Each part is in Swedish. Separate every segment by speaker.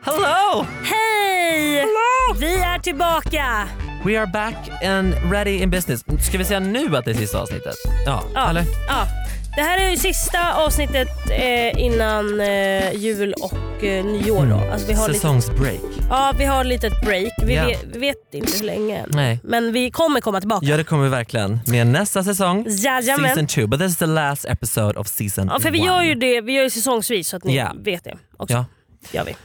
Speaker 1: Hello!
Speaker 2: Hej! Vi är tillbaka!
Speaker 1: We are back and ready in business. Ska vi säga nu att det är sista avsnittet? Ja,
Speaker 2: Ja.
Speaker 1: eller?
Speaker 2: ja. Det här är ju sista avsnittet eh, innan eh, jul och eh, nyår. Då. Alltså, vi, har lite,
Speaker 1: Säsongsbreak.
Speaker 2: ja, vi har lite ett break. Vi
Speaker 1: Ja.
Speaker 2: vet, vet inte hur länge än.
Speaker 1: Nej.
Speaker 2: Men vi kommer komma tillbaka.
Speaker 1: Ja det kommer vi verkligen med nästa säsong.
Speaker 2: Jajamän.
Speaker 1: Season 2. But this is the last episode of season 1.
Speaker 2: Ja, för vi gör ju det vi gör ju säsongsvis så att ni
Speaker 1: Ja.
Speaker 2: vet det också.
Speaker 1: Ja.
Speaker 2: Gör vi.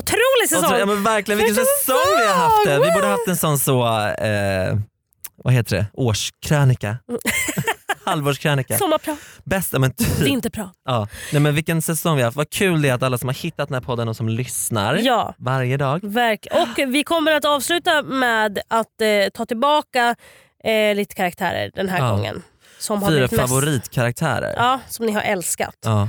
Speaker 2: Otrolig säsong!
Speaker 1: Och så, Alltså, ja men verkligen vilken
Speaker 2: Vilken
Speaker 1: säsong vi har haft det. Vi borde haft en sån så, eh, vad heter det, årskrönika. Halvårskrönika.
Speaker 2: Sommarprat,
Speaker 1: Bästa men typ.
Speaker 2: vinterprat.
Speaker 1: Ja. Nej, men vilken säsong vi har haft. Vad kul det är att alla som har hittat den här podden och som lyssnar
Speaker 2: Ja.
Speaker 1: varje dag.
Speaker 2: Verk. Och vi kommer att avsluta med att eh, ta tillbaka eh, lite karaktärer den här
Speaker 1: Ja.
Speaker 2: gången. Som har
Speaker 1: Fyra
Speaker 2: blivit mest-
Speaker 1: favoritkaraktärer.
Speaker 2: Ja, som ni har älskat.
Speaker 1: Ja.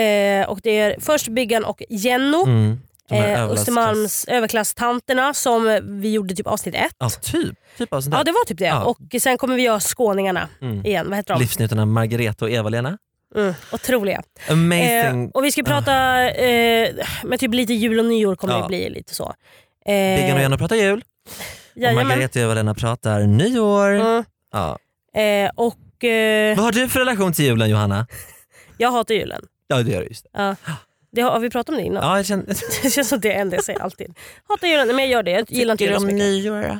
Speaker 2: Eh, och det är först Byggan och Jenno.
Speaker 1: Mm. De här
Speaker 2: eh,
Speaker 1: överklass-
Speaker 2: Östermalms överklasstanterna som eh, vi gjorde typ avsnitt ett.
Speaker 1: Ja, typ. typ av sånt där.
Speaker 2: Ja det var typ det.
Speaker 1: Ja.
Speaker 2: Och sen kommer vi göra Skåningarna
Speaker 1: Mm.
Speaker 2: igen. Vad heter de?
Speaker 1: Livsnjutarna Margareta och Eva-Lena.
Speaker 2: Mm. Otroliga.
Speaker 1: Amazing.
Speaker 2: Eh, och vi ska prata eh, men typ lite jul och nyår kommer
Speaker 1: Ja.
Speaker 2: det bli lite så. Eh,
Speaker 1: Biggan och Jenna pratar jul. Och
Speaker 2: jajamän.
Speaker 1: Margareta och Eva-Lena pratar nyår.
Speaker 2: Mm.
Speaker 1: Ja.
Speaker 2: Eh, och eh,
Speaker 1: Vad har du för relation till julen Johanna?
Speaker 2: jag hatar julen.
Speaker 1: Ja det gör du just. det.
Speaker 2: Ja. Det har, har vi pratat om det innan?
Speaker 1: Ja, jag känner...
Speaker 2: Det känns som det är en del jag säger alltid. Hatar julen, nej, men jag gör det. Jag gillar inte julen så mycket.
Speaker 1: nyår då?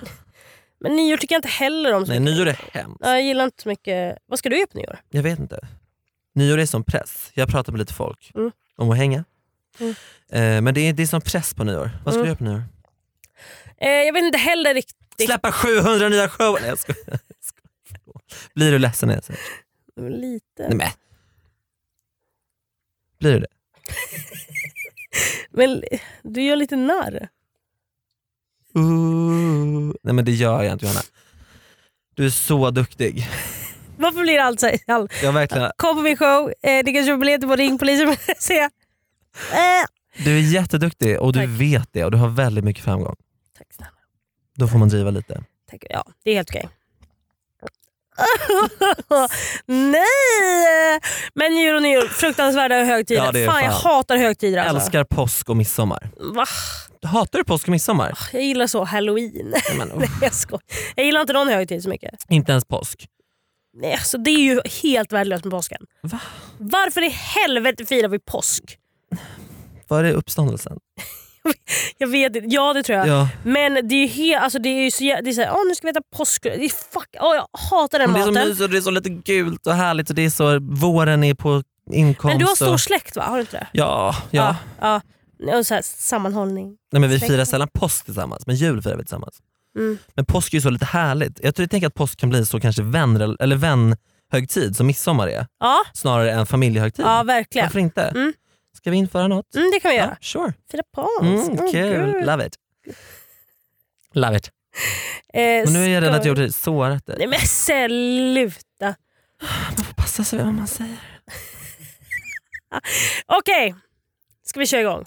Speaker 2: Men nyår tycker jag inte heller om så
Speaker 1: Nej
Speaker 2: mycket.
Speaker 1: nyår är hemskt.
Speaker 2: Ja, Jag gillar inte så mycket. Vad ska du göra på nyår?
Speaker 1: Jag vet inte. Nyår är som press. Jag pratar med lite folk
Speaker 2: Mm.
Speaker 1: om att hänga.
Speaker 2: Mm.
Speaker 1: Eh, men det är, det är som press på nyår. Vad ska
Speaker 2: Mm.
Speaker 1: du göra på nyår?
Speaker 2: Eh, jag vet inte heller riktigt. Det-
Speaker 1: Släppa 700 nya shower! Nej jag skojar. Jag skojar. Blir du ledsen när jag säger
Speaker 2: Lite.
Speaker 1: Nej men. Blir du det?
Speaker 2: Men du gör lite narr. Uh.
Speaker 1: Ooh. Nej men det gör jag inte Johanna. Du är så duktig.
Speaker 2: Varför blir allt så här?
Speaker 1: Jag verkligen...
Speaker 2: Kom på min show, eh, ni kan köpa biljetter på ringpolisen. Se. Eh,
Speaker 1: Du är jätteduktig och du
Speaker 2: Tack.
Speaker 1: vet det och du har väldigt mycket framgång.
Speaker 2: Tack snälla.
Speaker 1: Då får man driva lite.
Speaker 2: Tack. Ja, det är helt okej. Nej! Men jul och nyår, fruktansvärda högtider.
Speaker 1: Ja, det är
Speaker 2: fan, jag
Speaker 1: fan.
Speaker 2: hatar högtider alltså.
Speaker 1: Älskar påsk och midsommar.
Speaker 2: Va?
Speaker 1: Hatar du påsk och midsommar?
Speaker 2: Jag gillar så halloween.
Speaker 1: Nej, men, oh,
Speaker 2: Ah, Nej jag skojar. Jag gillar inte någon högtid så mycket.
Speaker 1: inte ens påsk.
Speaker 2: Nej, alltså, det är ju helt värdelöst med påsken.
Speaker 1: Va?
Speaker 2: Varför i helvete firar vi påsk?
Speaker 1: Var är uppståndelsen?
Speaker 2: Jag vet inte. Ja det tror jag.
Speaker 1: Ja.
Speaker 2: Men det är ju helt, alltså det är ju så jä- det är så här, "Åh, nu ska vi äta påsk. Det är fuck, åh, jag hatar den
Speaker 1: Men det är så
Speaker 2: maten.
Speaker 1: mysigt och det är så lite gult och härligt och det är så, våren är på inkomst.
Speaker 2: Men du har stor
Speaker 1: och,
Speaker 2: släkt va? Har du inte det?
Speaker 1: ja, ja.
Speaker 2: ja. ja. Och så här, sammanhållning.
Speaker 1: Nej, men vi firar sällan påsk tillsammans men jul firar vi tillsammans.
Speaker 2: Mm.
Speaker 1: Men påsk är ju så lite härligt. Jag tror jag tänker att påsk kan bli så kanske vän, eller vänhögtid som midsommar är.
Speaker 2: Ja,
Speaker 1: Snarare än familjehögtid.
Speaker 2: ja verkligen.
Speaker 1: Varför inte?
Speaker 2: Mm.
Speaker 1: Ska vi införa något?
Speaker 2: Mm, det kan vi göra.
Speaker 1: Ja, sure.
Speaker 2: Fira påsk.
Speaker 1: Mm,
Speaker 2: Åh,
Speaker 1: kul,
Speaker 2: gud.
Speaker 1: love it. Love it.
Speaker 2: Eh,
Speaker 1: Men nu är jag rädd
Speaker 2: ska-
Speaker 1: att jag har sårat dig.
Speaker 2: Nej men sluta.
Speaker 1: Man får passa sig vad man säger.
Speaker 2: Okej, ska vi köra igång?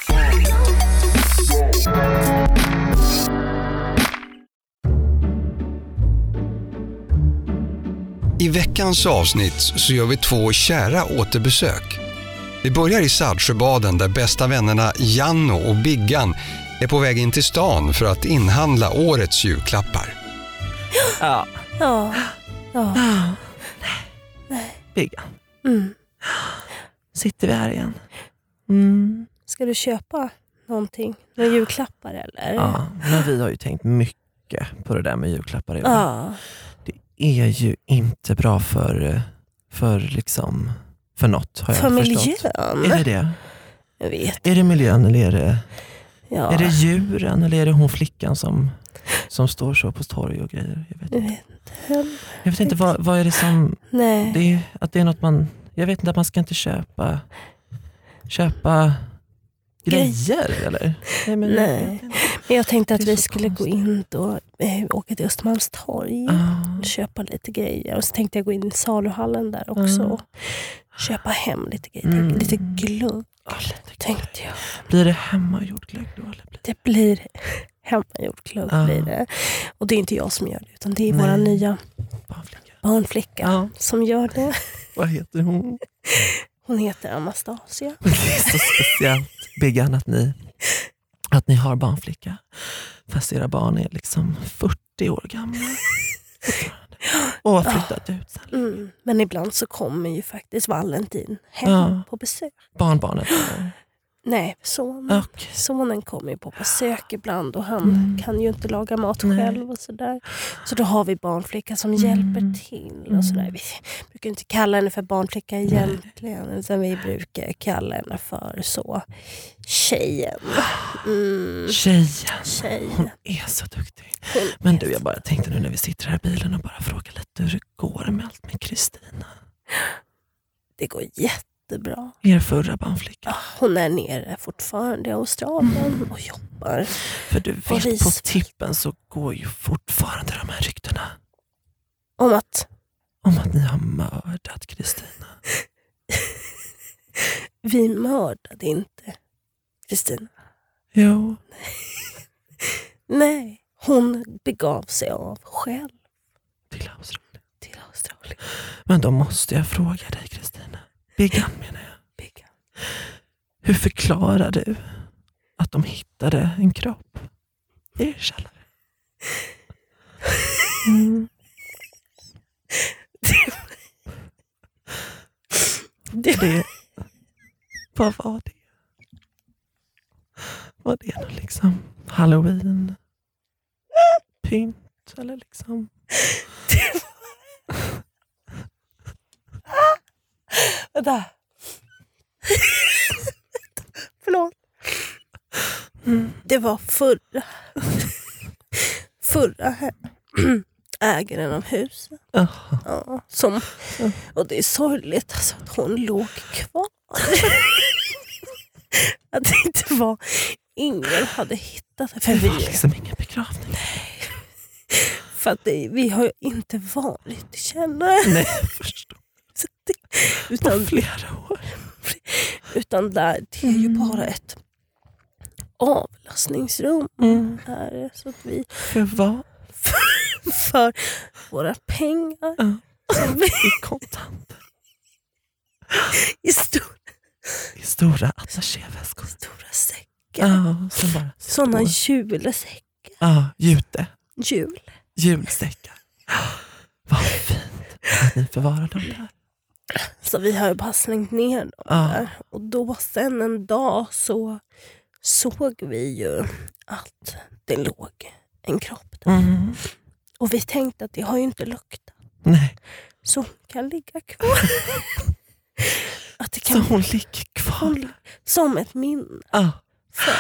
Speaker 3: I veckans avsnitt så gör vi två kära återbesök. Vi börjar i Saltsjöbaden där bästa vännerna Janno och Biggan är på väg in till stan för att inhandla årets julklappar.
Speaker 1: Ja.
Speaker 2: Ja. ja.
Speaker 1: Biggan,
Speaker 2: Mm.
Speaker 1: sitter vi här igen? Mm.
Speaker 2: Ska du köpa någonting? Några julklappar eller?
Speaker 1: Ja, men vi har ju tänkt mycket på det där med julklappar i år.
Speaker 2: Ja.
Speaker 1: Det är ju inte bra för, för, liksom, för något har jag
Speaker 2: För
Speaker 1: förstått.
Speaker 2: miljön?
Speaker 1: Är det det?
Speaker 2: Jag vet.
Speaker 1: Är det miljön eller är det,
Speaker 2: Ja.
Speaker 1: är det djuren eller är det hon flickan som, som står så på torg och grejer? Jag vet
Speaker 2: Jag
Speaker 1: inte,
Speaker 2: vet inte heller.
Speaker 1: jag vet inte vad, vad är det som
Speaker 2: Nej.
Speaker 1: Det är, att det är något man, jag vet inte att man ska inte köpa, köpa grejer eller? Nej. Men,
Speaker 2: Nej. Men jag tänkte att
Speaker 1: Det är
Speaker 2: vi
Speaker 1: så
Speaker 2: skulle
Speaker 1: konstigt.
Speaker 2: gå in då, eh, åka till Östermalms torg
Speaker 1: Ah,
Speaker 2: och köpa lite grejer. Och så tänkte jag gå in i saluhallen där också
Speaker 1: Mm.
Speaker 2: och köpa hem lite grejer.
Speaker 1: Mm.
Speaker 2: Lite glögg
Speaker 1: ah, lite glögg.
Speaker 2: tänkte jag.
Speaker 1: Blir det hemmagjord glögg då? Eller blir
Speaker 2: Det blir hemmagjord glögg.
Speaker 1: Ja.
Speaker 2: Blir det. Och det är inte jag som gör det utan det är
Speaker 1: Ah. Nej. Ah.
Speaker 2: vår nya
Speaker 1: det barnflicka?
Speaker 2: barnflicka
Speaker 1: Ja,
Speaker 2: som gör det.
Speaker 1: vad heter hon?
Speaker 2: Hon heter Anastasia.
Speaker 1: Det är så speciellt, Biggan, att ni att ni har barnflicka. Fast era barn är liksom 40 år gamla. Och har flyttat ut. sen.
Speaker 2: Mm. Men ibland så kommer ju faktiskt Valentin hem
Speaker 1: Ja.
Speaker 2: på besök.
Speaker 1: Barnbarnet. eller?
Speaker 2: Nej, sonen.
Speaker 1: Och,
Speaker 2: Sonen kommer ju på besök ibland och han
Speaker 1: Ah. Mm.
Speaker 2: kan ju inte laga mat
Speaker 1: Nej. Mm.
Speaker 2: själv. och sådär. Så då har vi barnflickan som hjälper till. Och sådär. Vi brukar inte kalla henne för barnflicka egentligen, utan vi brukar kalla henne för så tjejen. Mm,
Speaker 1: tjejen,
Speaker 2: tjej.
Speaker 1: hon är så duktig.
Speaker 2: Hon
Speaker 1: Men
Speaker 2: är
Speaker 1: du, jag bara tänkte nu när vi sitter här i bilen och bara frågar lite hur det går med allt med Kristina.
Speaker 2: Det går jättebra.
Speaker 1: Er förra barnflicka.
Speaker 2: Ah, Hon är nere fortfarande i
Speaker 1: Mm.
Speaker 2: Australien och jobbar.
Speaker 1: För du
Speaker 2: Och
Speaker 1: vet, på
Speaker 2: risfält.
Speaker 1: tippen så går ju fortfarande de här ryktena
Speaker 2: Om att
Speaker 1: om att ni har mördat Kristina.
Speaker 2: vi mördade inte Kristina.
Speaker 1: Jo,
Speaker 2: Nej, hon begav sig av själv
Speaker 1: till Australien.
Speaker 2: till Australien.
Speaker 1: Men då måste jag fråga dig Kristina. Biggan menar jag.
Speaker 2: Biggan.
Speaker 1: Hur förklarar du att de hittade en kropp i er källare? Mm.
Speaker 2: Det-
Speaker 1: Det, vad var det? Var det någon liksom halloween? Pynt eller liksom?
Speaker 2: Vänta. Förlåt. Det var förra. Förra hä- ägaren av huset.
Speaker 1: Jaha.
Speaker 2: Ja, som, och det är sorgligt alltså, att hon låg kvar. att det inte var ingen hade hittat henne. För,
Speaker 1: Det var
Speaker 2: vi,
Speaker 1: liksom ingen begravning.
Speaker 2: för att det, vi har ju inte varit i källaren.
Speaker 1: Nej, jag förstår.
Speaker 2: Så det-
Speaker 1: På
Speaker 2: Utan
Speaker 1: flera år.
Speaker 2: Utan där, det är ju bara ett avlastningsrum. Är det, så att vi
Speaker 1: För vad?
Speaker 2: för våra pengar
Speaker 1: Ja.
Speaker 2: som vi
Speaker 1: I kontanter.
Speaker 2: i stor,
Speaker 1: I stora attachéväskor.
Speaker 2: stora säck.
Speaker 1: Ja, som bara
Speaker 2: Sådana
Speaker 1: står.
Speaker 2: julesäck.
Speaker 1: Ja, jute.
Speaker 2: Jul.
Speaker 1: Julsäckar. Vad fint att ni förvarar dem där.
Speaker 2: Så vi har ju bara slängt ner dem
Speaker 1: Ja.
Speaker 2: där. Och då sen en dag så såg vi ju att det låg en kropp där.
Speaker 1: Mm.
Speaker 2: Och vi tänkte att det har ju inte luktat.
Speaker 1: Nej,
Speaker 2: Så hon kan ligga kvar. att det
Speaker 1: så
Speaker 2: kan
Speaker 1: hon ligger kvar. där.
Speaker 2: som ett minne.
Speaker 1: Ja,
Speaker 2: för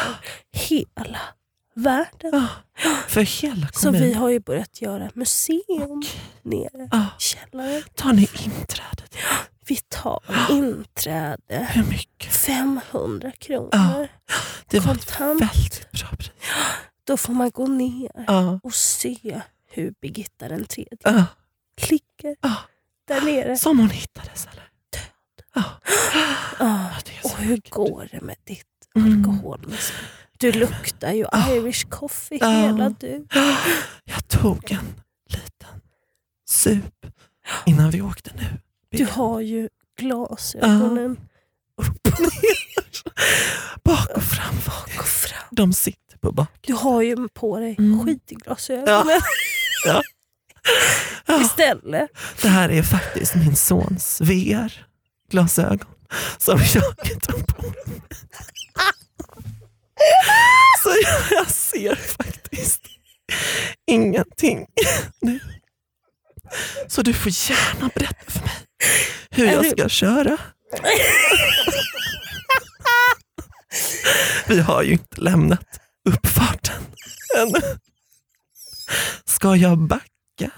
Speaker 2: hela världen.
Speaker 1: ja. För hela
Speaker 2: Så vi
Speaker 1: kommunen.
Speaker 2: har ju börjat göra ett museum nere
Speaker 1: Ja.
Speaker 2: i källaren.
Speaker 1: Tar ni inträdet?
Speaker 2: Vi tar inträde,
Speaker 1: Hur mycket?
Speaker 2: 500
Speaker 1: Ja.
Speaker 2: kronor
Speaker 1: Det var ett
Speaker 2: kontant.
Speaker 1: väldigt bra pris.
Speaker 2: Då får man gå ner
Speaker 1: Ja,
Speaker 2: och se hur Birgitta den tredje
Speaker 1: ja.
Speaker 2: ligger
Speaker 1: Ja.
Speaker 2: där nere.
Speaker 1: Som hon hittades eller? Ja,
Speaker 2: Ja.
Speaker 1: ja, det är så
Speaker 2: Och hur
Speaker 1: vackert.
Speaker 2: går det med ditt
Speaker 1: Mm.
Speaker 2: alkoholmissbruk? Du luktar ju Irish coffee
Speaker 1: Ja.
Speaker 2: hela du.
Speaker 1: Jag tog en liten sup innan vi åkte nu.
Speaker 2: Du har ju glasögonen upp och ner.
Speaker 1: Bak och fram, bak och fram. De sitter på bak.
Speaker 2: Du har ju på dig
Speaker 1: Mm.
Speaker 2: skitglasögonen
Speaker 1: Ja. Ja,
Speaker 2: istället.
Speaker 1: det här är faktiskt min sons VR-glasögon som jag tog på mig. Så jag, jag ser faktiskt ingenting nu. Så du får gärna berätta för mig hur
Speaker 2: Är
Speaker 1: jag
Speaker 2: du-
Speaker 1: ska köra. Vi har ju inte lämnat uppfarten ännu. Ska jag backa?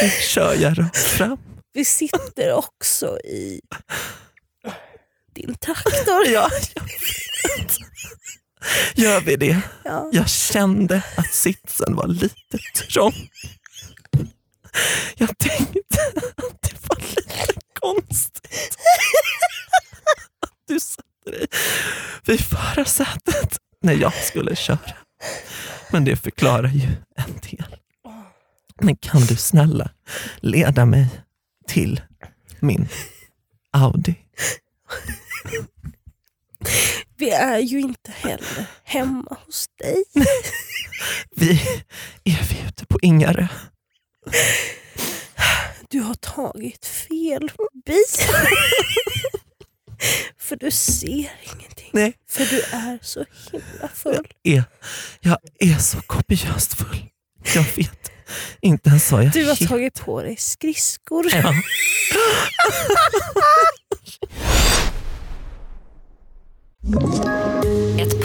Speaker 1: Eller kör jag rakt fram?
Speaker 2: Vi sitter också i din traktor.
Speaker 1: Ja, jag vet. Gör vi det?
Speaker 2: Ja.
Speaker 1: Jag kände att sitsen var lite trång. Jag tänkte att det var lite konstigt att du satte dig vid förarsätet när jag skulle köra. Men det förklarar ju en del. Men kan du snälla leda mig till min Audi?
Speaker 2: Vi är ju inte heller hemma hos dig.
Speaker 1: Vi är vi ute på Ingarö.
Speaker 2: Du har tagit fel bil. För du ser ingenting.
Speaker 1: Nej.
Speaker 2: För du är så himla full.
Speaker 1: Är, jag är så kopiöst full. Jag vet inte ens vad jag
Speaker 2: Du har
Speaker 1: heter.
Speaker 2: tagit på dig skridskor.
Speaker 1: Ja.
Speaker 4: Ett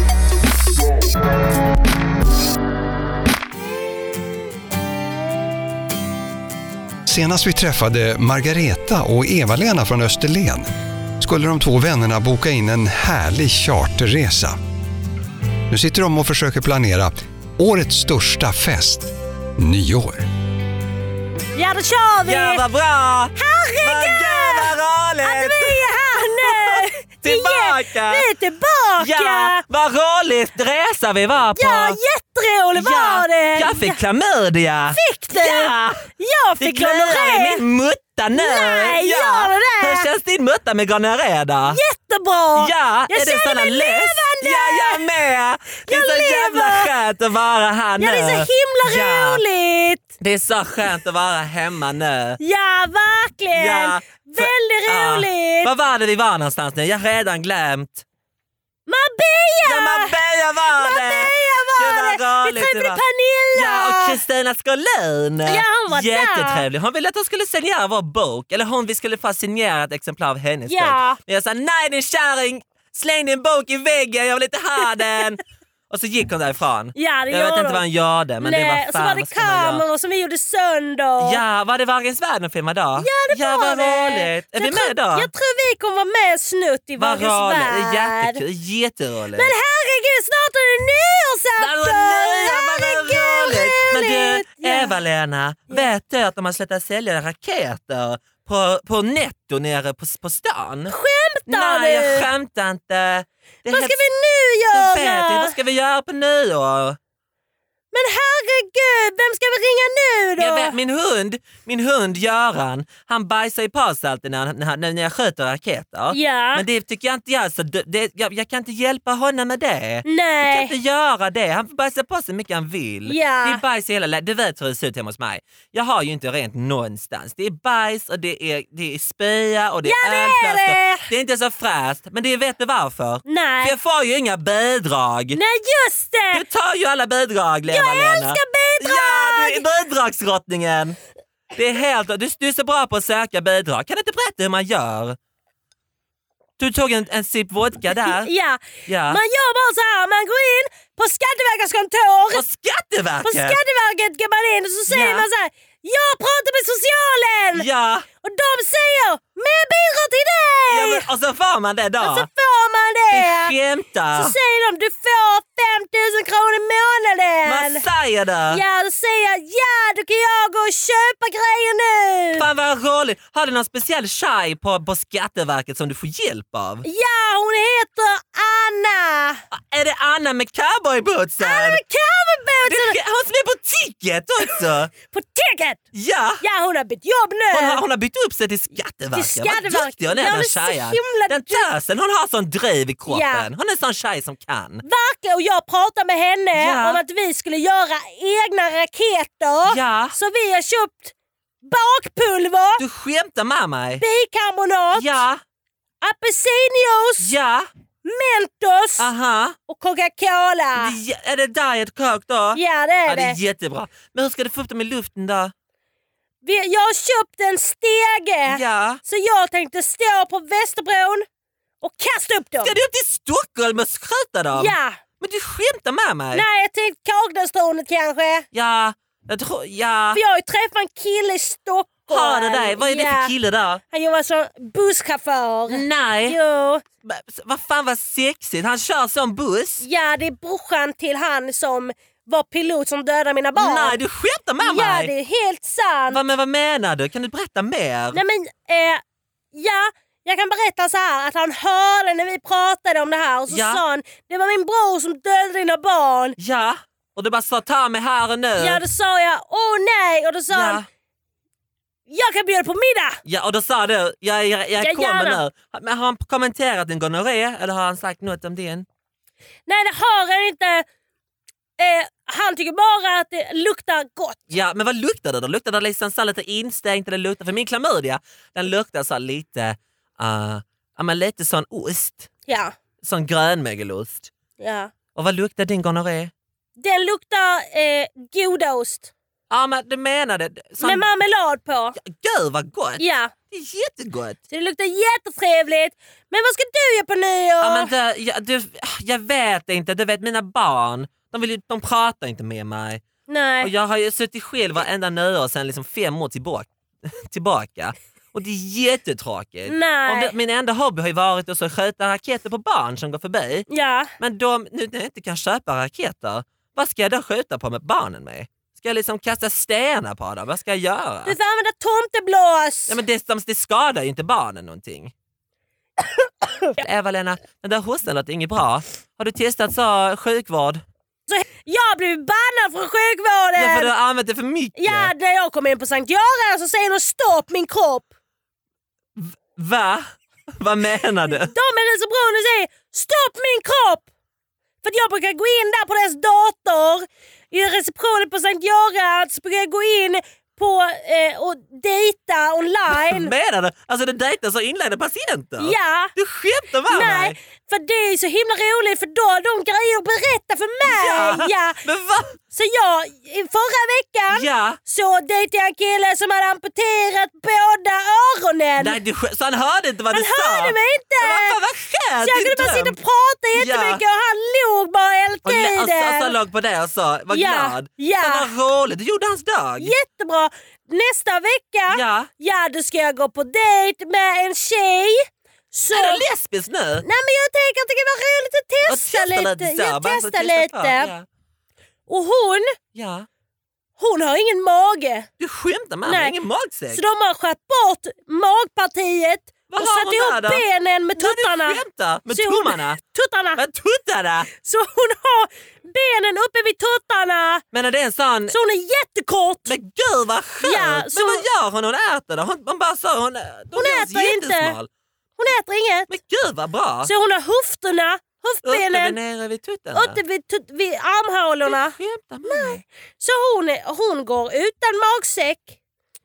Speaker 3: Senast vi träffade Margareta och Eva-Lena från Österlen skulle de två vännerna boka in en härlig charterresa. Nu sitter de och försöker planera årets största fest, nyår.
Speaker 2: Ja, då kör vi!
Speaker 1: vad bra!
Speaker 2: Herregud! Att vi är här nu!
Speaker 1: Tillbaka!
Speaker 2: Vi är tillbaka!
Speaker 1: vad roligt resa vi var på!
Speaker 2: Ja, jätteroligt var det!
Speaker 1: klamydia!
Speaker 2: fick det! Jag fick gonorré!
Speaker 1: mutta nu!
Speaker 2: Nej, Ja. gör du det? Hur
Speaker 1: känns din mutta med gonorré då?
Speaker 2: Jättebra!
Speaker 1: Ja,
Speaker 2: Jag
Speaker 1: är det
Speaker 2: känner
Speaker 1: såna
Speaker 2: mig
Speaker 1: less?
Speaker 2: levande!
Speaker 1: Ja, jag med! Det är
Speaker 2: Jag
Speaker 1: så jävla
Speaker 2: lever!
Speaker 1: skönt att vara här nu.
Speaker 2: Ja, det är så himla
Speaker 1: Ja.
Speaker 2: roligt!
Speaker 1: Det är så skönt att vara hemma nu.
Speaker 2: Ja, verkligen!
Speaker 1: Ja, för-
Speaker 2: Väldigt
Speaker 1: Ja.
Speaker 2: roligt!
Speaker 1: Var var det vi var någonstans nu? Jag har redan glömt.
Speaker 2: Marbella!
Speaker 1: Ja, Marbella var det!
Speaker 2: Marbella var
Speaker 1: Gud, vad
Speaker 2: det! Vi
Speaker 1: roligt det
Speaker 2: träffade
Speaker 1: var.
Speaker 2: Pernilla!
Speaker 1: Ja, och Kristina Skolin.
Speaker 2: Ja, hon var där.
Speaker 1: Jättetrevlig. Hon ville att hon skulle signera vår bok. Eller hon, vi skulle få signera ett exemplar av hennes
Speaker 2: Ja.
Speaker 1: bok. Men jag sa nej din kärring, släng din bok i väggen, jag vill inte ha den. och så gick hon därifrån.
Speaker 2: Ja,
Speaker 1: Jag vet
Speaker 2: det gjorde
Speaker 1: inte vad
Speaker 2: hon.
Speaker 1: han gjorde men det
Speaker 2: Nej,
Speaker 1: var
Speaker 2: och så var
Speaker 1: fan
Speaker 2: det
Speaker 1: vad ska man göra?
Speaker 2: kameror som vi gjorde sönder.
Speaker 1: Ja, var det Vargens värld de filmade då?
Speaker 2: Ja, det var
Speaker 1: vad
Speaker 2: det.
Speaker 1: roligt. Är
Speaker 2: Jag
Speaker 1: vi
Speaker 2: tror-
Speaker 1: med då?
Speaker 2: Jag tror vi kommer vara med snutt i
Speaker 1: Vad
Speaker 2: Vargens
Speaker 1: roligt. Det är
Speaker 2: värld.
Speaker 1: jättekul. Jätteroligt.
Speaker 2: Men herregud, snart är det nyårsafton! Herregud,
Speaker 1: Men du,
Speaker 2: Ja.
Speaker 1: Eva-Lena, vet du att de har slutat sälja raketer på, på Netto nere på, på stan?
Speaker 2: Skämtar
Speaker 1: Nej,
Speaker 2: du?
Speaker 1: jag skämtar inte. Det är
Speaker 2: Vad
Speaker 1: helt-
Speaker 2: ska vi nu
Speaker 1: jag vet inte.
Speaker 2: göra?
Speaker 1: Vad ska vi göra på nyår?
Speaker 2: Men herregud, vem ska vi ringa nu då?
Speaker 1: Jag vet, min hund, min hund Göran, han bajsar ju på sig alltid när, när, när när jag skjuter raketer.
Speaker 2: Ja.
Speaker 1: Men det tycker jag inte jag, så det, det, jag, jag kan inte hjälpa honom med det. Jag kan
Speaker 2: Nej.
Speaker 1: inte göra det. Han får bajsa på sig hur mycket han vill.
Speaker 2: Ja.
Speaker 1: Det är bajs i hela lä- Du vet hur det ser ut hemma hos mig. Jag har ju inte rent någonstans. Det är bajs och det är, det är spya och det är
Speaker 2: Ja, det är
Speaker 1: ölflaskor.
Speaker 2: det.
Speaker 1: det är inte så fräscht. Men det vet du varför?
Speaker 2: Nej.
Speaker 1: För jag får ju inga bidrag.
Speaker 2: Nej just det!
Speaker 1: Du tar ju alla bidrag Lena-Lena.
Speaker 2: Jag älskar bidrag!
Speaker 1: Ja, du är bidragsrottningen! Det är helt, du, du är så bra på att söka bidrag. Kan du inte berätta hur man gör? Du tog en, en sipp vodka där.
Speaker 2: Ja.
Speaker 1: Ja.
Speaker 2: Man gör bara så här, man går in på Skatteverkets kontor.
Speaker 1: På
Speaker 2: På
Speaker 1: Skatteverket!
Speaker 2: Skatteverket går man in och så säger
Speaker 1: Ja.
Speaker 2: man så här. Jag pratar med socialen!
Speaker 1: Ja,
Speaker 2: Och de säger mer bidrag till dig!
Speaker 1: ja men, och så får man det
Speaker 2: och så
Speaker 1: då.
Speaker 2: får man det!
Speaker 1: Du skämtar!
Speaker 2: Så säger de du får 5000 kronor i månaden!
Speaker 1: Vad säger du?
Speaker 2: Ja, då säger jag ja, då kan jag gå och köpa grejer nu!
Speaker 1: Fan vad roligt! Har du någon speciell tjej på, på Skatteverket som du får hjälp av?
Speaker 2: Ja, hon heter Anna!
Speaker 1: Är det Anna med cowboybootsen?
Speaker 2: Anna med
Speaker 1: Det
Speaker 2: cowboyboots!
Speaker 1: är Hon som är på ticket också!
Speaker 2: På ticket!
Speaker 1: Ja!
Speaker 2: Ja, hon har bytt jobb nu!
Speaker 1: Hon har, hon har bytt upp sig till Skatteverket.
Speaker 2: Till
Speaker 1: Vad
Speaker 2: Skatteverket.
Speaker 1: duktig hon är
Speaker 2: Ja,
Speaker 1: den
Speaker 2: men så
Speaker 1: tjejen.
Speaker 2: himla
Speaker 1: Den
Speaker 2: duktig.
Speaker 1: tösen, hon har sån driv i kroppen.
Speaker 2: Ja.
Speaker 1: Hon är en sån tjej som kan.
Speaker 2: Verkligen, och jag pratade med henne
Speaker 1: Ja.
Speaker 2: om att vi skulle göra egna raketer.
Speaker 1: Ja.
Speaker 2: Så vi har köpt bakpulver,
Speaker 1: Du skämtar med mig?
Speaker 2: bikarbonat,
Speaker 1: Ja,
Speaker 2: apelsinjuice,
Speaker 1: ja,
Speaker 2: Mentos
Speaker 1: aha.
Speaker 2: och Coca-Cola.
Speaker 1: Det, är det Diet Coke då?
Speaker 2: Ja, det
Speaker 1: Ja,
Speaker 2: är
Speaker 1: det är
Speaker 2: det.
Speaker 1: jättebra. Men hur ska du få upp dem i luften då?
Speaker 2: Vi- Jag har köpt en stege.
Speaker 1: Ja.
Speaker 2: Så jag tänkte stå på Västerbron och kasta upp dem.
Speaker 1: Ska du upp till Stockholm och skjuta dem?
Speaker 2: Ja.
Speaker 1: Men du skämtar med mig?
Speaker 2: Nej, jag tänkte Kaknästornet kanske.
Speaker 1: Ja, jag tror... Ja.
Speaker 2: För jag har ju träffat en kille i Stockholm
Speaker 1: ha det där. Vad är det
Speaker 2: Ja.
Speaker 1: för kille där?
Speaker 2: Han jobbar som busschaufför.
Speaker 1: Nej,
Speaker 2: Jo,
Speaker 1: Va- vad fan vad sexigt. Han kör sån buss.
Speaker 2: ja det är brorsan till han som var pilot som dödade mina barn.
Speaker 1: Nej, du skämtar med
Speaker 2: Ja
Speaker 1: mig.
Speaker 2: det är helt sant.
Speaker 1: Va, men vad menar du? Kan du berätta mer?
Speaker 2: Nej men, eh, ja. Jag kan berätta så här att han hörde när vi pratade om det här och så
Speaker 1: Ja.
Speaker 2: sa han det var min bror som dödade dina barn.
Speaker 1: Ja, och du bara sa ta mig här och nu.
Speaker 2: Ja då sa jag åh nej och då sa han
Speaker 1: ja.
Speaker 2: jag kan bjuda på middag.
Speaker 1: ja, och då sa du jag, jag, jag
Speaker 2: Ja,
Speaker 1: kommer
Speaker 2: gärna.
Speaker 1: nu. Men har han kommenterat din gonorré eller har han sagt något om din?
Speaker 2: Nej det har han inte. Eh, han tycker bara att det luktar gott.
Speaker 1: Ja, men vad luktade det? då? Luktade det liksom så här lite instängt? Eller luktade, för min klamydia den luktar så här lite, eh, ja, men lite sån ost.
Speaker 2: Ja,
Speaker 1: Sån grönmögelost.
Speaker 2: ja.
Speaker 1: Och vad luktar din gonorré?
Speaker 2: Den luktar eh, godost
Speaker 1: Ja men du menar det. Sån,
Speaker 2: med marmelad på.
Speaker 1: Gud vad gott!
Speaker 2: Ja,
Speaker 1: Det är jättegott!
Speaker 2: så det luktar jättetrevligt. Men vad ska du göra på nyår?
Speaker 1: Ja, men du, jag, du, jag vet inte, du vet mina barn, de, vill, ju- de pratar inte med mig.
Speaker 2: Nej.
Speaker 1: Och jag har ju suttit själv varenda nyår sedan liksom fem år tillbaka. tillbaka. Och det är jättetråkigt.
Speaker 2: Nej.
Speaker 1: Och det, min enda hobby har ju varit att så skjuta raketer på barn som går förbi.
Speaker 2: Ja,
Speaker 1: Men de, nu när jag inte kan köpa raketer, vad ska jag då skjuta på med barnen med? Ska jag liksom kasta stenar på dem? Vad ska jag göra?
Speaker 2: du får använda tomteblås.
Speaker 1: Ja, men det, de- det skadar ju inte barnen någonting. Eva-Lena, den där hostan låter inget bra. Har du testat så, sjukvård?
Speaker 2: så, jag blev bannad från
Speaker 1: Ja, för
Speaker 2: sjukvården.
Speaker 1: du
Speaker 2: Ja,
Speaker 1: har använt det för mycket.
Speaker 2: när jag kom in på Sankt Göran så säger de stopp min kropp.
Speaker 1: Va? Vad menar du?
Speaker 2: De är så bra och säger stopp min kropp. För att jag brukar gå in där på deras dator i receptionen på Sankt Göran så brukar jag gå in på eh, och dejta online.
Speaker 1: Menar du? Alltså du dejtar så inledda patienter?
Speaker 2: Ja.
Speaker 1: Du skämtar med
Speaker 2: Nej,
Speaker 1: mig?
Speaker 2: för det är så himla roligt för då har de grejer att berätta för mig. Ja.
Speaker 1: Men va?
Speaker 2: Så jag, i förra veckan
Speaker 1: Ja.
Speaker 2: så dejtade jag en kille som hade amputerat båda öronen.
Speaker 1: Nej, du, sk- så han hörde inte vad
Speaker 2: Han
Speaker 1: du sa?
Speaker 2: hörde mig inte.
Speaker 1: Men vad fan vad skönt!
Speaker 2: Så jag
Speaker 1: din
Speaker 2: kunde bara
Speaker 1: dröm.
Speaker 2: sitta och prata jättemycket och han log bara hela
Speaker 1: Och le-
Speaker 2: tiden.
Speaker 1: och så- och så låg på det och sa, var
Speaker 2: Ja,
Speaker 1: glad.
Speaker 2: ja.
Speaker 1: Men vad roligt, du gjorde hans dag.
Speaker 2: Jättebra. Nästa vecka,
Speaker 1: Ja.
Speaker 2: ja då ska jag gå på dejt med en tjej. Så...
Speaker 1: Är du lesbisk nu?
Speaker 2: Nej men jag tänker att det kan vara roligt att
Speaker 1: Och
Speaker 2: testa,
Speaker 1: så,
Speaker 2: lite. Jag
Speaker 1: bara så
Speaker 2: testar
Speaker 1: testa
Speaker 2: lite.
Speaker 1: på, Ja.
Speaker 2: Och hon,
Speaker 1: ja.
Speaker 2: hon har ingen mage.
Speaker 1: Du skämtar med
Speaker 2: Nej.
Speaker 1: mig, ingen magsäck.
Speaker 2: Så de har skärt bort magpartiet
Speaker 1: Vad
Speaker 2: och
Speaker 1: har
Speaker 2: satt
Speaker 1: hon
Speaker 2: ihop
Speaker 1: där då?
Speaker 2: benen med
Speaker 1: Nej,
Speaker 2: tuttarna.
Speaker 1: Du skämtar? Med
Speaker 2: Så hon-
Speaker 1: tummarna?
Speaker 2: tuttarna.
Speaker 1: Med tuttarna?
Speaker 2: Så hon har benen uppe vid tuttarna.
Speaker 1: Men är det en sån...
Speaker 2: Så hon är jättekort.
Speaker 1: Men gud vad skönt!
Speaker 2: Ja, så-
Speaker 1: Men vad gör hon? Hon äter det? Hon, hon bara så... Hon, hon
Speaker 2: äter inte. Hon äter inget.
Speaker 1: Men gud vad bra!
Speaker 2: Så hon har höfterna,
Speaker 1: Uppe vid
Speaker 2: höftbenen,
Speaker 1: nere vid tuttarna?
Speaker 2: uppe vid, tut- vid armhålorna.
Speaker 1: Du skämtar med mig?
Speaker 2: Så hon, är, hon går utan magsäck.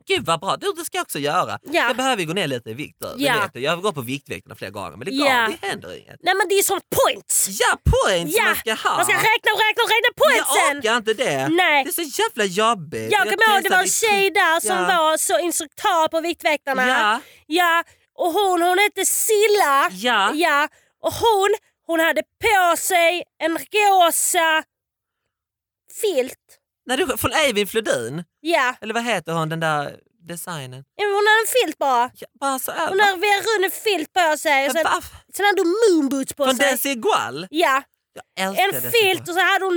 Speaker 1: Gud vad bra, du, det ska jag också göra.
Speaker 2: Ja.
Speaker 1: Jag behöver ju gå ner lite i vikt då. Det
Speaker 2: Ja.
Speaker 1: vet du. Jag har gått på Viktväktarna flera gånger men det, går,
Speaker 2: Ja.
Speaker 1: det händer inget.
Speaker 2: Nej men det är som points.
Speaker 1: Ja, poäng
Speaker 2: Ja,
Speaker 1: som man ska ha!
Speaker 2: Man ska räkna och räkna och räkna
Speaker 1: Jag
Speaker 2: pointsen.
Speaker 1: orkar inte det.
Speaker 2: Nej.
Speaker 1: Det är så jävla jobbigt.
Speaker 2: Jag kommer ihåg det var en tjej där som
Speaker 1: Ja.
Speaker 2: var så instruktör på Viktväktarna.
Speaker 1: Ja.
Speaker 2: Ja, och hon, hon hette Silla.
Speaker 1: Ja.
Speaker 2: ja. Och hon, hon hade på sig en rosa filt.
Speaker 1: När du, från Eivind Flodin,
Speaker 2: Ja,
Speaker 1: eller vad heter hon den där designen?
Speaker 2: hon hade en filt bara.
Speaker 1: Ja, bara så
Speaker 2: Hon
Speaker 1: över.
Speaker 2: hade en rund filt på sig. Och sen,
Speaker 1: Va?
Speaker 2: sen hade hon moonboots på
Speaker 1: Från
Speaker 2: sig.
Speaker 1: Desi Igual?
Speaker 2: Ja,
Speaker 1: Jag älskar
Speaker 2: en
Speaker 1: Desi Igual.
Speaker 2: filt och så hade hon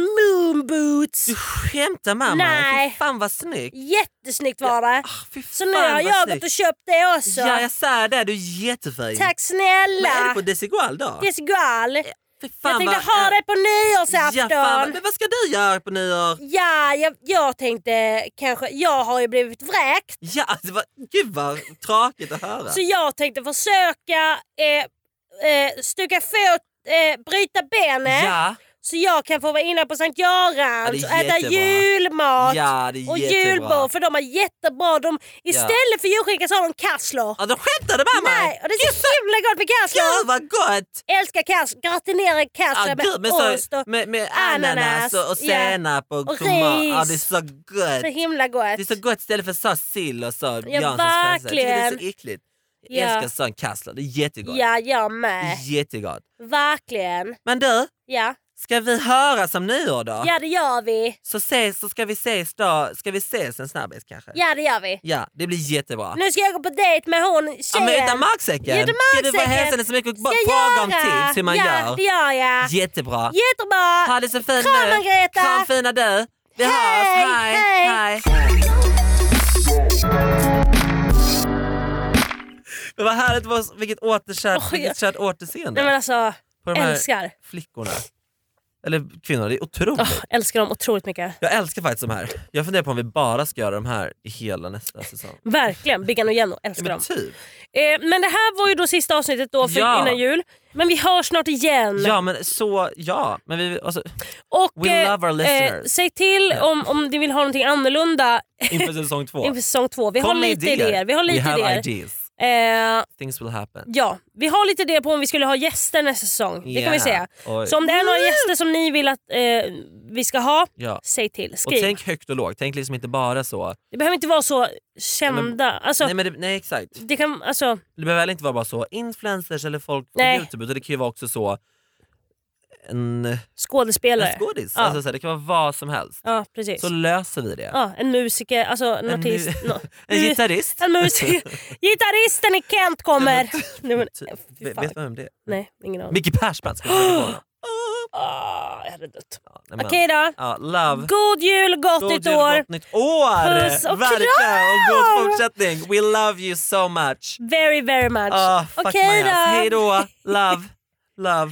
Speaker 2: moonboots.
Speaker 1: Du skämtar mamma?
Speaker 2: Nej.
Speaker 1: Fy fan vad snyggt.
Speaker 2: Jättesnyggt var det.
Speaker 1: Ah, fy
Speaker 2: Så nu
Speaker 1: fan
Speaker 2: har
Speaker 1: vad
Speaker 2: jag
Speaker 1: snyggt.
Speaker 2: gått och köpt det också.
Speaker 1: Ja jag säger det, du är jättefin.
Speaker 2: Tack
Speaker 1: Men är
Speaker 2: snälla.
Speaker 1: det på Desi Igual då?
Speaker 2: Det är så gal.
Speaker 1: Fy fan
Speaker 2: Jag tänkte
Speaker 1: vad- eh,
Speaker 2: ha det på
Speaker 1: Ja, fan, vad-
Speaker 2: nyårsafton.
Speaker 1: men vad ska du göra på nyår?
Speaker 2: Ja, jag, jag tänkte kanske, jag har ju blivit vräkt
Speaker 1: Ja, alltså, vad, gud vad tråkigt att höra.
Speaker 2: så jag tänkte försöka eh, eh, stuka fot, eh, bryta benet
Speaker 1: Ja,
Speaker 2: så jag kan få vara inne på Sankt Görans
Speaker 1: Ja,
Speaker 2: och
Speaker 1: det är
Speaker 2: äta
Speaker 1: jättebra.
Speaker 2: julmat
Speaker 1: ja det är
Speaker 2: och
Speaker 1: jättebra.
Speaker 2: julbord för de har jättebra, de, istället för julskinka så har de kassler.
Speaker 1: Ja, de skämtade med mig!
Speaker 2: Nej, och det är så himla gott med
Speaker 1: Gud
Speaker 2: kassler.
Speaker 1: vad gott!
Speaker 2: Älskar kassler, gratinerade kassler
Speaker 1: Ja, gud, med,
Speaker 2: med Alltså, ost
Speaker 1: så,
Speaker 2: och
Speaker 1: med, med
Speaker 2: ananas,
Speaker 1: ananas och, och
Speaker 2: ja.
Speaker 1: senap och,
Speaker 2: Och
Speaker 1: tomat. Ja, det är
Speaker 2: ris.
Speaker 1: så gott.
Speaker 2: så himla gott.
Speaker 1: Det är så gott istället för så sill och så Janssons Jag tycker det är
Speaker 2: verkligen.
Speaker 1: så äckligt. Jag
Speaker 2: Ja.
Speaker 1: älskar sån kassler, det är jättegott.
Speaker 2: Ja, jag
Speaker 1: Det
Speaker 2: med.
Speaker 1: är jättegott.
Speaker 2: Verkligen.
Speaker 1: Men du,
Speaker 2: Ja.
Speaker 1: Ska vi höra som nyår då?
Speaker 2: Ja det gör vi.
Speaker 1: Så, ses, så ska vi ses då. Ska vi ses en snabbis kanske?
Speaker 2: Ja det gör vi.
Speaker 1: Ja, det blir jättebra.
Speaker 2: Nu ska jag gå på dejt med hon
Speaker 1: Ja, men utan
Speaker 2: tjejen.
Speaker 1: magsäcken.
Speaker 2: Utan
Speaker 1: Ska du bara
Speaker 2: magsäcken.
Speaker 1: hälsa henne så mycket och bara
Speaker 2: Ska jag
Speaker 1: fråga om
Speaker 2: göra?
Speaker 1: tips hur man
Speaker 2: ja,
Speaker 1: gör?
Speaker 2: det gör jag.
Speaker 1: Jättebra.
Speaker 2: Jättebra.
Speaker 1: Ha det så fint
Speaker 2: Kram,
Speaker 1: nu.
Speaker 2: Margareta.
Speaker 1: Kram fina du. Vi
Speaker 2: Hej,
Speaker 1: hörs.
Speaker 2: hej.
Speaker 1: hej. Men vad härligt, vad- vilket återkärt,
Speaker 2: Oj.
Speaker 1: vilket kärt
Speaker 2: Nej men
Speaker 1: återseende
Speaker 2: alltså,
Speaker 1: på de här
Speaker 2: älskar.
Speaker 1: flickorna. Eller kvinnorna, det är otroligt.
Speaker 2: Åh, älskar dem otroligt mycket.
Speaker 1: Jag älskar faktiskt de här. Jag funderar på om vi bara ska göra de här i hela nästa säsong.
Speaker 2: Verkligen, Biggan och Jenno
Speaker 1: Ja,
Speaker 2: älskar
Speaker 1: men
Speaker 2: dem.
Speaker 1: typ.
Speaker 2: Eh, men det här var ju då sista avsnittet då för
Speaker 1: Ja.
Speaker 2: innan jul. Men vi hörs snart igen.
Speaker 1: Ja men så, ja. Men vi, alltså,
Speaker 2: Och,
Speaker 1: we
Speaker 2: eh,
Speaker 1: love our
Speaker 2: eh,
Speaker 1: listeners.
Speaker 2: säg till om, om ni vill ha någonting annorlunda
Speaker 1: Inför säsong två.
Speaker 2: inför säsong två. Vi har
Speaker 1: Kom med
Speaker 2: lite idéer. Vi har
Speaker 1: We
Speaker 2: lite
Speaker 1: have
Speaker 2: idéer.
Speaker 1: ideas.
Speaker 2: Eh,
Speaker 1: Things will happen.
Speaker 2: ja, vi har lite idéer på om vi skulle ha gäster nästa säsong. Det kan vi
Speaker 1: Yeah.
Speaker 2: säga.
Speaker 1: Oj.
Speaker 2: Så om det är några gäster som ni vill att eh, vi ska ha,
Speaker 1: Ja.
Speaker 2: säg till.
Speaker 1: Och
Speaker 2: Skriv.
Speaker 1: tänk högt och lågt. Tänk liksom inte bara så.
Speaker 2: det behöver inte vara så kända. Alltså,
Speaker 1: Nej, men det, nej exakt.
Speaker 2: det kan, alltså,
Speaker 1: Det behöver heller inte vara bara så influencers eller folk på
Speaker 2: Nej.
Speaker 1: youtube utan det kan ju vara också så en, en
Speaker 2: skådespelare.
Speaker 1: skådis.
Speaker 2: Ja.
Speaker 1: Alltså, så här, det kan vara vad som helst.
Speaker 2: ja, precis.
Speaker 1: Så löser vi det.
Speaker 2: ja, en musiker, alltså en,
Speaker 1: En
Speaker 2: artist.
Speaker 1: mu-
Speaker 2: nå-
Speaker 1: En gitarrist.
Speaker 2: En musiker. Gitarristen i Kent kommer! Nej, men,
Speaker 1: Ty-
Speaker 2: fy
Speaker 1: Vet
Speaker 2: fan.
Speaker 1: vet du vem det är?
Speaker 2: nej ingen aning.
Speaker 1: Micke Persbrandt. ska vi försöka få honom?
Speaker 2: Ah, jag hade dött.
Speaker 1: Ja, nej, men-
Speaker 2: Okej då.
Speaker 1: Ja, love.
Speaker 2: God jul, gott
Speaker 1: God
Speaker 2: nytt
Speaker 1: jul,
Speaker 2: år!
Speaker 1: Gott nytt år!
Speaker 2: Puss och
Speaker 1: Verkligen! Och
Speaker 2: kram!
Speaker 1: god fortsättning. We love you so much.
Speaker 2: Very very much.
Speaker 1: Ah, fuck
Speaker 2: Okej
Speaker 1: my
Speaker 2: då.
Speaker 1: ass. Hej då. Love. Love.